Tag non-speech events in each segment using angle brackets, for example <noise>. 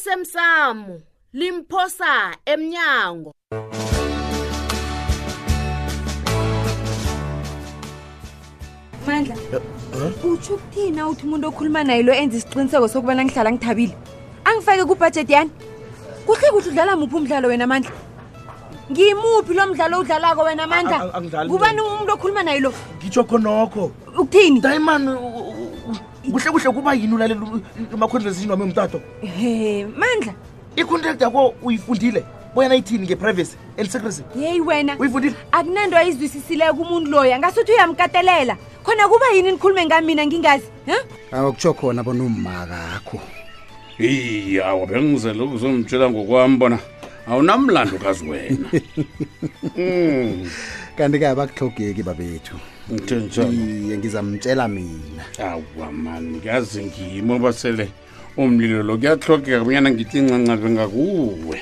osemsamo limphosa emnyango mandla utsho ukuthina uthi umuntu okhuluma naye lo enza isiqiniseko sokubana ngihlala ngithabile angifake kubhajethi yani kuhle kuhle udlala muphi umdlalo wena mandla ngimuphi lo mdlalo owudlalako wena mandla a- angidlali kubani umuntu okhuluma naye lo ngitsho khonokho ukuthini daiman kuhle kuhle kuba yini ulalela ama-conversation wami umtato he mandla i-contract yakho uyifundile boyana ithini nge-privacy and secrecy yeyi wena uyifundile akunanto ayizwisisileyo kumuntu loya ngasuthi uyamkatelela khona kuba yini nikhulume ngamina ngingazi ha awukutsho khona bona ummakakho eyi awa bengizele ukuzongitshela ngokwami bona awunamlando kazi wena Mm, kanti-ke abakuhlogeki babethu ngithe njalo iye ngizamtshela mina awa mani kazi ngimo basele umlilo lo kuyahlogeka kunyana ngithi incancabe ngakuwe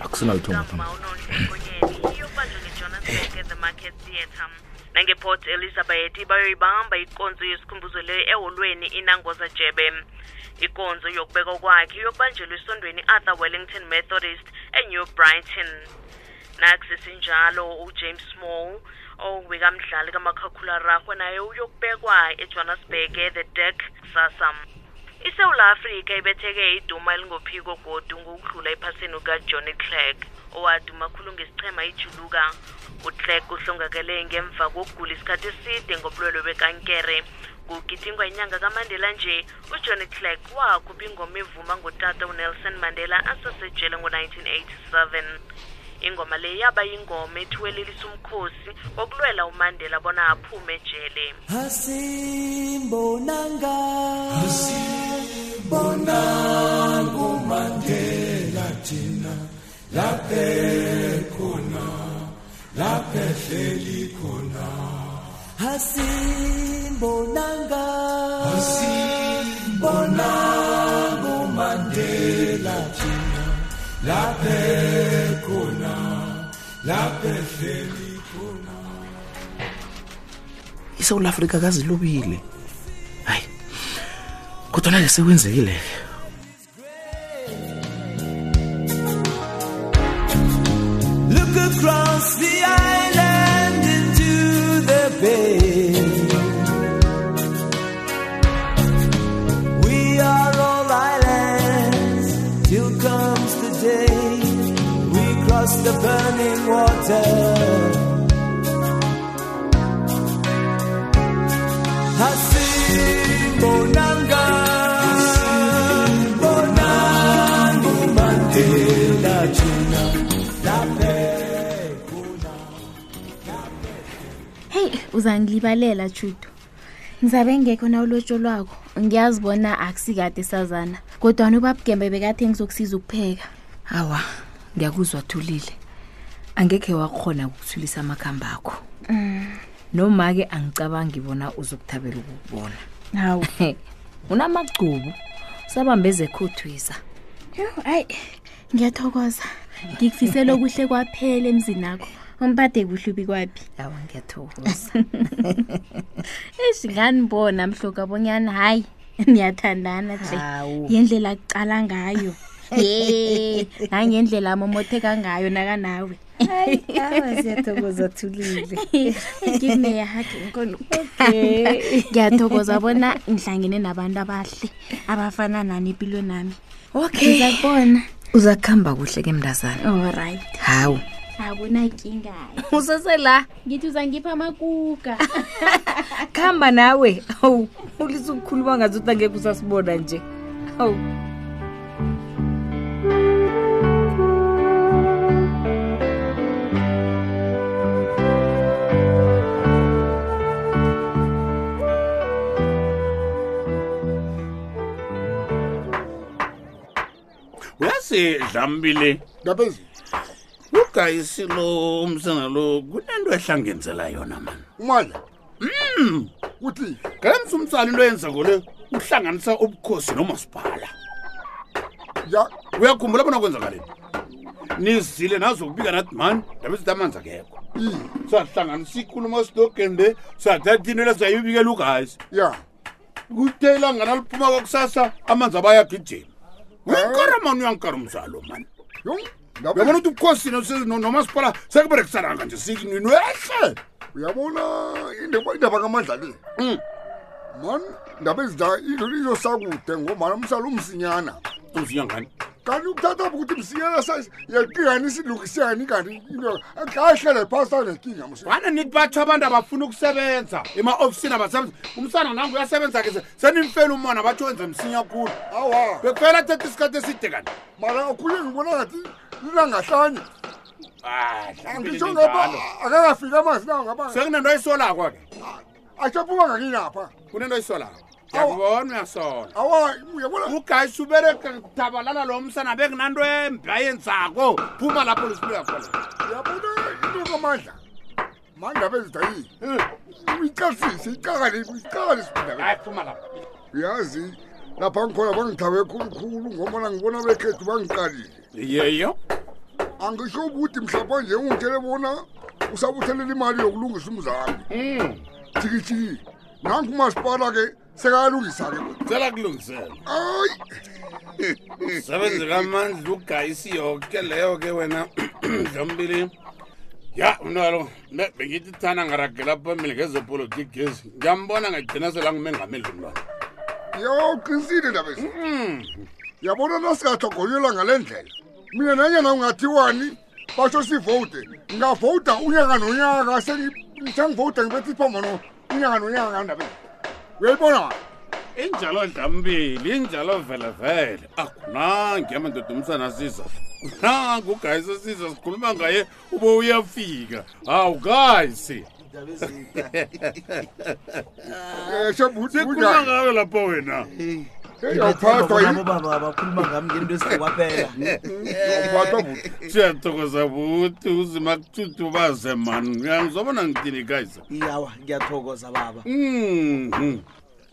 akusenalithoma iyobanjwa ngejohannesburg ethemarket theatre nangeport elizabeth bayoyibamba ikonzo yesikhumbuzo leyo eholweni inangoza jebe ikonzo yokubekwa kwakhe yokubanjelwa esondweni arthur wellington methodist enew brighton nakusi sinjalo ujames small owikamdlali kamakhakhulwararhwe naye uyokubekwa ejohannesburg the dek kusasa isewula afrika ibetheke iduma elingophiko godu ngokudlula ephasini kukajohnny clark owaduma khulu ngesichema ijuluka uclark uhlongakele ngemva kokugula isikhathi eside ngobulwelwe bekankere kugidingwa inyanga kamandela nje ujohnny clark wakhupha ingoma evuma ngotata unelson mandela asesejele ngo-1987 ingoma le yaba yingoma ethiwelelisa umkhosi wokulwela umandela bona aphume ejele asimbonanga asimbonanga asimbonanga umandela thina laphe khona laphe hleli khona isewul afrika kazilobile hayi kodwana-ke sekwenzekile-ke Look across the island into the bay. We are all islands till comes the day we cross the burning water. Hasimbo Nanga, Bonango Mandela China, Lapeko. heyi uzangilibalela judu ngizabe ngekho na ulotsho lwakho ngiyazi bona akusikade sazana kodwana ubabugembe bekathe ngizokusiza ukupheka hawa ngiyakuzwa thulile angekhe wakhona ukuthulisa amakhambi akho noma-ke angicabangi bona uzokuthabela ukukubona hawu unamagcubu sabambeze khuthwisa hayi ngiyathokoza <laughs> ngikufisela okuhle kwaphela emzini akho umpade kuhle ubi kwaphi yawa ngiyathokoza <laughs> eshi nganibona mhloka bonyana hhayi niyathandana nje Hawu. yendlela kucala ngayo ye nangendlela amomotheka ngayo nakanawe <laughs> siyathokoza thulile give me a hug <laughs> nkolo ngiyathokoza bona ngihlangene nabantu abahle abafana nani impilo nami okay ngizakubona uza kuhamba kuhle ke mndazana allright hawu akunakingayo usesela ngithi uzangipha amakuka kuhamba nawe awu ulisa ukukhuluma ngazuthi angekhe usasibona nje awu uyasidlambile ndaphezulu ugayisi lo umsana lo kunento ehlangenzela yona mani umandla uthi Hmm, ngalemsa umtsana into yenzako le uhlanganisa ubukhosi nomasipala ya uyakhumbula bona kwenzakaleni nizile nazokubika nathi mani ndabe sithi amanzi akekho Hmm. sahlanganisa ikhuluma sidogende sathatha into lesayibikela ugasi ya kuthe ilanga naliphuma kwakusasa amanzi abayagijela uyankara mani uyankara umzalo mani Yo, uyabona ngabe- ukuthi ubukhosi nose- no- nomasipala sekuberekisananga nje sikinini uyehle uyabona indaba indaba kamandla le man ndaba ezida izosakude ngomana umsala umsinyana uzinyangani kanti ukuthatha ukuthi msinyana yekinga nisilungiseni kanti into ahlele phasi anekinga msi bana nithi batho abantu abafuna ukusebenza ema-ofisini abasebenza umsana nangu uyasebenza ke se- senimfela umona batho wenze msinya khulu awa bekufela thatha isikhathi eside kanti mara akhunye ngibona ngathi linangahlanye Ah, hlabe angisho njalo. ngaba akangafiki amanzi nawo ngaba sekunento ayisolako ke ashaphuma ngakinapha kunento ayisolako Awa. yakubona uyasola awa uyabona ugayisi ubereka dabalala lo msana bekunanto embi ayenzako phuma lapho lesibuya khona uyabona into kamandla mandaba ezidayile Hmm. uyicasise icakale icakale sibindaba hayi phuma lapho uyazi lapha ngikhona bangithabe khulukhulu ngomana ngibona bekhethu bangiqalile yeyo angisho ukuthi mhlawumbe ungitshele bona usabuthelela imali yokulungisa umzambi jikijiki nangu umasipala-ke sekayalungisa-ke cela kulungisela ayi sebenze kamandla ugayisi yoke leyo ke wena <clears throat> dlombili ya mntwalo be- bengithi thana ngaragela phambili ngezepolitiki gezi ngiyambona ngagcina selangumengameli lo mntwana yo qinisile ndabes yabona nasingathogoyelwa ngale ndlela mina nanyana ungathiwani basho sivote ngingavota unyaka nonyaka sengivote ngibetha iphomono unyaka nonyaka ngandabes uyayibona ma injalo dlambili injalo velevele akunangi amadodumsana asiza nangu ugayisi asiza sikhuluma ngaye ube uyafika hawu gayisi Eh, shebu- sikhuluma kunjani? ngawe lapha wena Eh, uyaphathwa yini? baba bakhuluma ngami ngento <laughs> esikwaphela Uphathwa buthi. siyathokoza buthi uzima kuthutubaze mani ngizobona ngidini gayisa iyawa ngiyathokoza baba Mhm.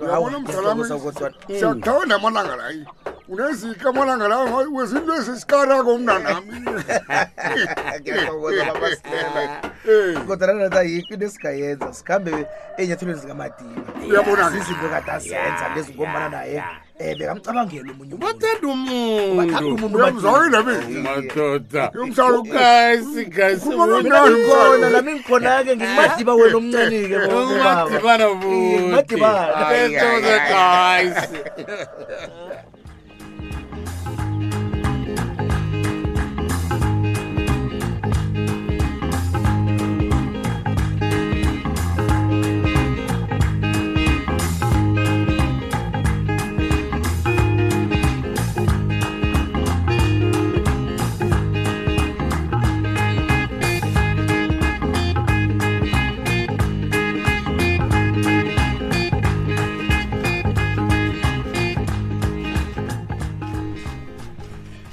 Uyabona mzalami, <laughs> kodwa Hmm. siyakuthanda amalanga layi unezika amalanga lawo wezinto ezisikarako <laughs> <laughs> mna nami kodwa nanata yikho into esingayenza sikhambe enyathelweni zikamadina Uyabona-ke. izinto kade azenza lezi ngombana naye um bekamcabangela omunye umuntu. bathanda umuntu uyamzwakile mina madoda Yomsalo. ugayisi gayisi Ukhuluma buthi. kamnandi. khona nami ngikhona-ke ngimadiba wena <laughs> omncane-ke ungadibana buthi Ungadibana. ethokoza gayisi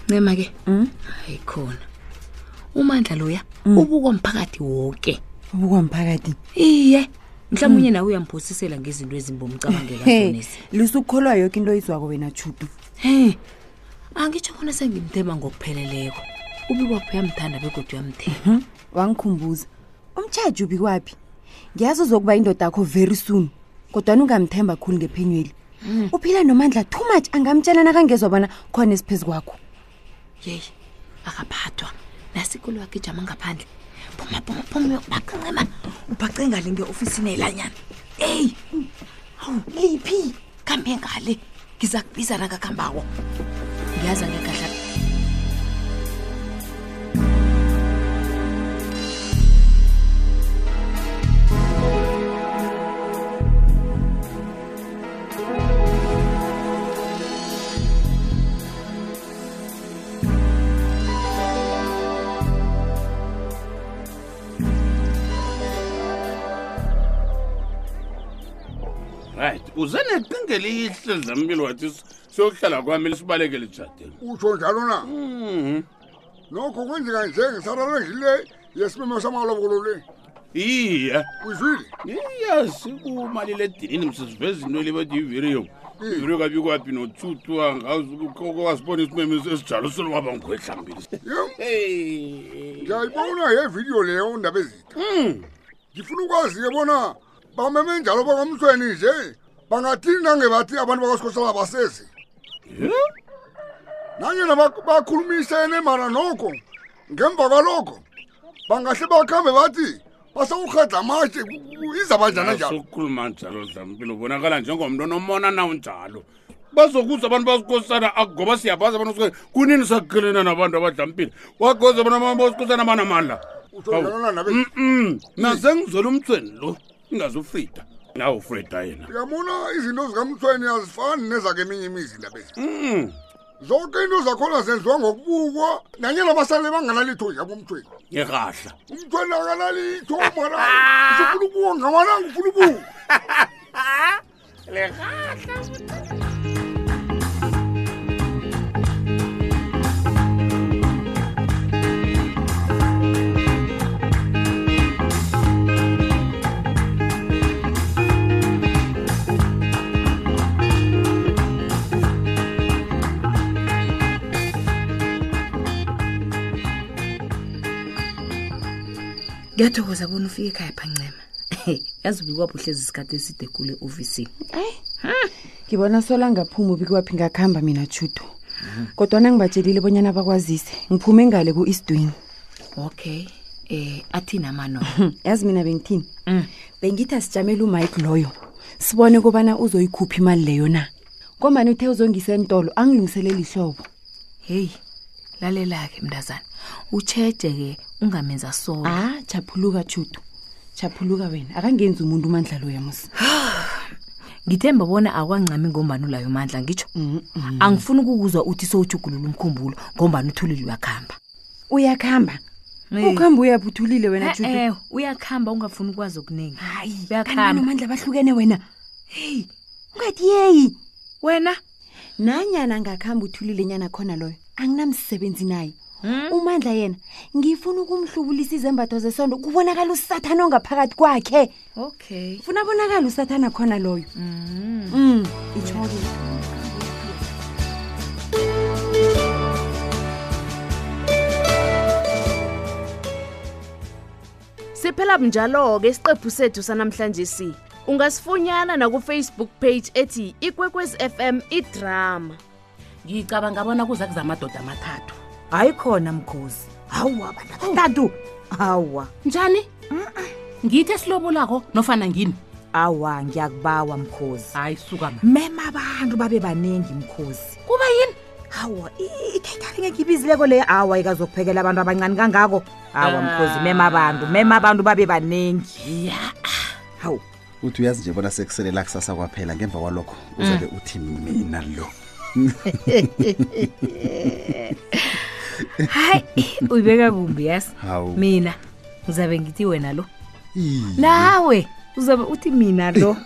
ncema-ke Hmm? hayi khona umandla loya ubuka mphakathi wonke ubukwamphakathi iye Hmm. mhlawumbe unye nawe uyamphosisela ngezinto ezimbomcabangela zonezi lisukholwa yoke into izwako wena chutu he angitsho bona sengimthema ngokupheleleko ubikwapho uyamthanda begodwa uyamthema wangikhumbuza umtshaji ubikwaphi ngiyazi uzokuba indoda akho very soon kodwani ungamthemba khulu ngephenyweni uphila nomandla too much angamtshela nakangezwa bona khona esiphezu kwakho yeyi akaphathwa nasikolo wakhe ijama ngaphandle phuma phuma phuma uyokubhaca ncema ubhace ngale nge-ofisini elanyana eyi hawu liphi kambe ngale ngiza kubiza nakakuhambako ngiyazi angekahla right uze neqinga elihle dlambili wathi s- siyokuhlala kwami lisibalekele ejadeni utsho njalo na Hmm. nokho kwenzeka nje ngisarale ngile yesimemo samalobolo le iye uyizwile iyasikumaliledinini msiziveza into elibathi yivirio into kabi kwaphi nothuthwa ngazukokowasibona isimemo esijalo solwaba ngigwedlambili ndiyayibona yevidiyo leyo ndaba ezitha Hmm. ndifuna ukwazi-ke bona bameme njalo bangamthweni nje bangathini nange bathi abantu bakasikhosana basezi nanyena bak- bakhulumisene mara nokho ngemva kwalokho bangahle bakhambe bathi basawurhadla amatye izaba njani njalo Ah, sokukhuluma njalo dlambili ubonakala njengomntu onomona nawo njalo bazokuza abantu basikhosana akugoba siyabazi abantu basikhosana kunini sakukelena nabantu abadlampile wagoza abantu abantu basikhosana banamandla uthonjalana nabe Mm, nasengizwela umthweni lo ingazufrida nawo ufrida yena uyabona izinto zikamthweni azifani nezake eminye imizi indaba ezi zonke iinto zakhona zenziwa ngokubukwa nanyena basale banganalitho yabo umthweni ngerahla umthweni akanalitho mara sifuna ubuka ngamananga ufuna ubuka ngiyathokoza bona ufike ekhaya phancema <laughs> yazi ubikwabuhle zisikhathi eside kule ofisini ngibona sola ngaphuma ubikwaphi ngakuhamba mina judo kodwana ngibatshelile bonyana bakwazise ngiphume ngale ku-eastwini okay um athini <laughs> amano yazi mina bengithini bengithi asijamele umike loyo sibone kobana uzoyikhupha imali leyo na ngomani uthe uzongisa entolo angilungiseleli ihlobo heyi lalela-ke mntazana utshetshe-ke ungamenza solo a japhuluka judo japhuluka wena akangenzi umuntu umandla loya musa ngithemba bona akwangcami ngombani ulayo mandla ngitsho angifuni ukukuzwa uthi sowujugulula umkhumbulo ngombani uthulile uyakuhamba uyakuhamba Eh. ukuhamba uyaphuthulile wena Eh, eh, judo uyakuhamba ungafuni ukwazi okuningi kanani uyakuhamba amandla abahlukene wena heyi ungathi yeyi wena nanyana angakuhamba uthulile nyana khona loyo anginamsebenzi naye Hmm? umandla yena ngifuna ukumhlubulisa izembatho zesondo kubonakala usathane ongaphakathi kwakhe okay funa bonakala usathana khona loyo Hmm. mm. itsho-ke siphela bunjalo-ke isiqephu sethu sanamhlanje si ungasifunyana nakufacebook page ethi ikwekwezi fm idrama ngicabanga bona kuza kuza amadoda amathathu hayi khona mkhosi hawa bantatatu hawa njani ngithi esilobolako nofana ngini awa ngiyakubawa mkhosi hayi suka mema abantu babe baningi mkhosi kuba yini hawa i-catering engibizileko leyo awa ikazokuphekela abantu abancane kangako hawa mkhozi mema abantu mema abantu babe baningi hawu uthi uyazi nje bona sekuselela kusasa kwaphela ngemva kwalokho uzabe uthi mina lo hayi <laughs> uyibeka kumbi yasi Hawu. mina uzabe ngithi wena lo Ii. nawe uzabe uthi mina lo